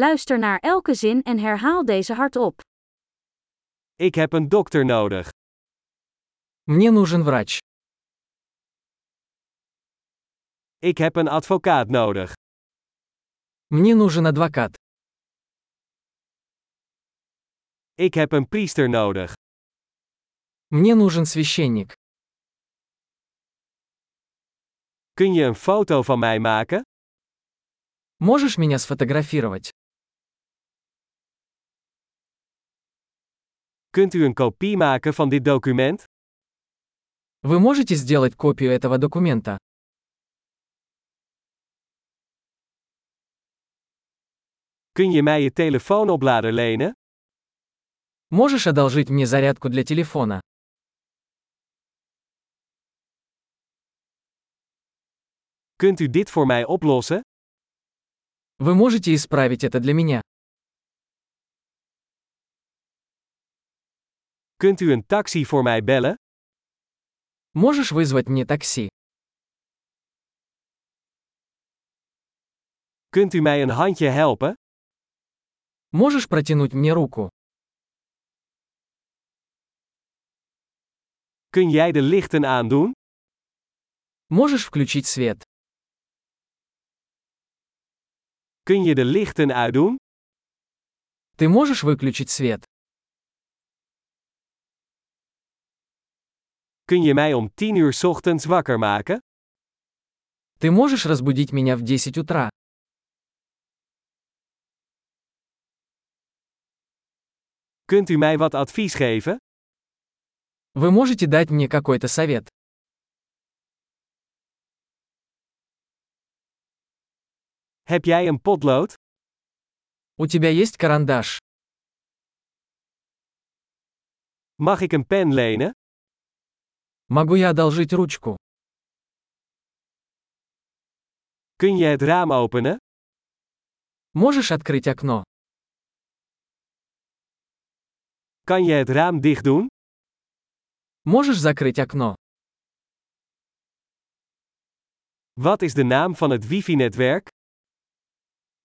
Luister naar elke zin en herhaal deze hardop. Ik heb een dokter nodig. Мне нужен врач. Ik heb een advocaat nodig. Мне нужен адвокат. Ik heb een priester nodig. Мне нужен священник. Kun je een foto van mij maken? Можешь меня сфотографировать? Kunt u een kopie maken van dit document? Вы можете сделать копию этого документа? Kun je mij je telefoonoplader lenen? Можешь одолжить мне зарядку для телефона? Kunt u dit voor mij oplossen? Вы можете исправить это для меня? Kunt u een taxi voor mij bellen? Можешь вызвать мне такси? Kunt u mij een handje helpen? Можешь протянуть мне руку? Kun jij de lichten aandoen? Можешь включить свет? Kun je de lichten uitdoen? Ты можешь выключить свет? Kun je mij om 10 uur 's ochtends wakker maken? Ты можешь разбудить меня в 10 утра? Kunt u mij wat advies geven? Вы можете дать мне какой-то совет? Heb jij een potlood? У тебя есть карандаш? Mag ik een pen lenen? Могу я одолжить ручку? Kun je het raam openen? Можешь открыть окно? Kan je het raam dicht doen? Можешь закрыть окно? Wat is de naam van het wifi-netwerk?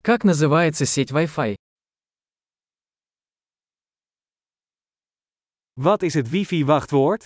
Как называется сеть Wi-Fi? Wat is het wifi-wachtwoord?